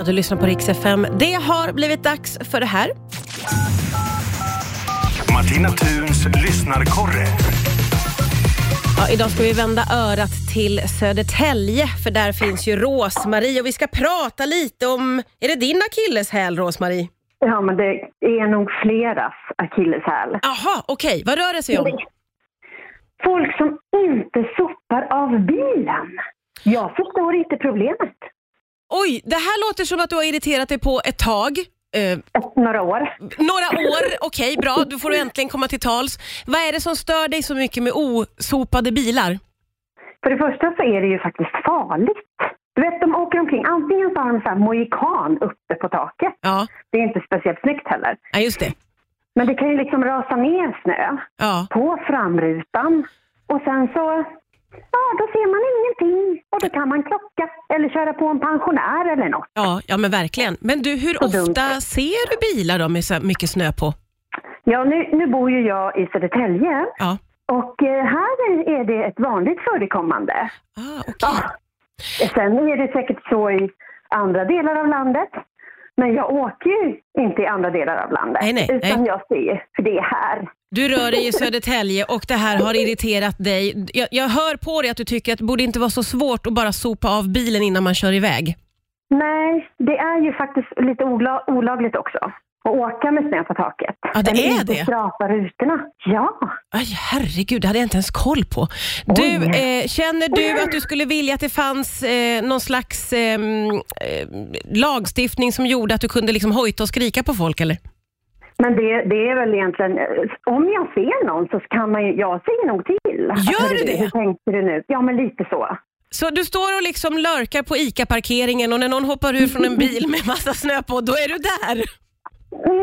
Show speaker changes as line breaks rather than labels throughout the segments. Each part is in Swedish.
Ja, Du lyssnar på Rix FM. Det har blivit dags för det här.
Martina Thuns lyssnarkorre.
Ja, idag ska vi vända örat till Södertälje, för där finns ju Rosmarie och vi ska prata lite om, är det din akilleshäl Rosmarie?
Ja, men det är nog fleras akilleshäl.
Jaha, okej, vad rör det sig om?
Folk som inte sopar av bilen. Jag förstår inte problemet.
Oj, det här låter som att du har irriterat dig på ett tag. Eh,
Ett, några år.
några år, okej bra, då får du äntligen komma till tals. Vad är det som stör dig så mycket med osopade bilar?
För det första så är det ju faktiskt farligt. Du vet, de åker omkring. Antingen så har de så här mohikan uppe på taket.
Ja,
Det är inte speciellt snyggt heller.
ja just det.
Men det kan ju liksom rasa ner snö
Ja.
på framrutan. Och sen så, ja, då ser man ingenting. Och då kan man klocka eller köra på en pensionär eller något.
Ja, ja, men verkligen. Men du, hur
Så dumt.
ofta ser du bilar då med så här mycket snö på?
Ja, nu, nu bor ju jag i Södertälje.
Ja.
Och eh, här är det ett vanligt förekommande.
Ah, okej.
Sen är det säkert så i andra delar av landet. Men jag åker ju inte i andra delar av landet.
Nej, nej,
utan
nej.
jag ser, för det är här.
Du rör dig i Södertälje och det här har irriterat dig. Jag, jag hör på dig att du tycker att det borde inte vara så svårt att bara sopa av bilen innan man kör iväg.
Nej, det är ju faktiskt lite ola- olagligt också. Att åka med snö på taket.
Ja, det
Eller
är
inte
det.
skrapa rutorna. Ja.
Aj, herregud, det hade jag inte ens koll på. Du,
Oj.
eh, känner du att du skulle vilja att det fanns eh, någon slags eh, mm, eh, lagstiftning som gjorde att du kunde liksom hojta och skrika på folk? Eller?
Men det, det är väl egentligen, eh, om jag ser någon så kan man ju, jag säger nog till.
Gör
Hörru
du det?
Hur tänkte du nu? Ja, men lite så.
Så du står och liksom lurkar på ICA-parkeringen och när någon hoppar ur från en bil med massa snö på, då är du där?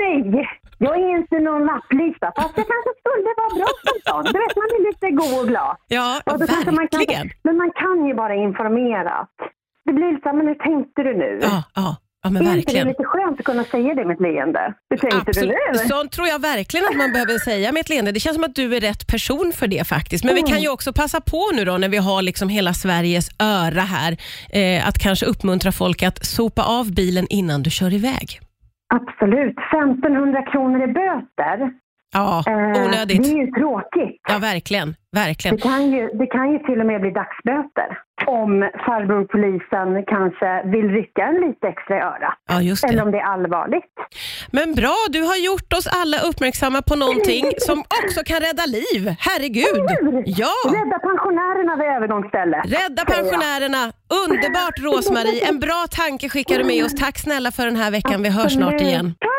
Nej, jag är inte någon lapplisa. Fast jag kanske skulle vara bra som sån. Du vet, man är lite god och glad.
Ja,
Och då kanske man
verkligen.
kan, men man kan ju bara informera. Det blir lite så här, men hur tänkte du nu?
Ja, ja, ja men
är inte det
verkligen.
lite skönt att kunna säga det med ett leende? Hur tänkte
Absolut.
du nu?
Sånt tror jag verkligen att man behöver säga med ett leende. Det känns som att du är rätt person för det faktiskt. Men vi
Mm.
kan ju också passa på nu då när vi har liksom hela Sveriges öra här, eh, att kanske uppmuntra folk att sopa av bilen innan du kör iväg.
Absolut. 1500 kronor i böter.
Ja,
Eh, Det
onödigt.
är ju tråkigt.
Ja, verkligen. verkligen.
Det kan, ju, det kan ju till och med bli dagsböter om farbror polisen kanske vill rycka en lite extra i örat.
Ja, just
Eller
det.
om det är allvarligt.
Men bra, du har gjort oss alla uppmärksamma på någonting som också kan rädda liv. Herregud! Ja!
Rädda pensionärerna vid övergångsstället.
Rädda
säger jag.
pensionärerna! Underbart Rosmarie, en bra tanke skickar du med oss. Tack snälla för den här veckan. Vi hörs snart igen.
Tack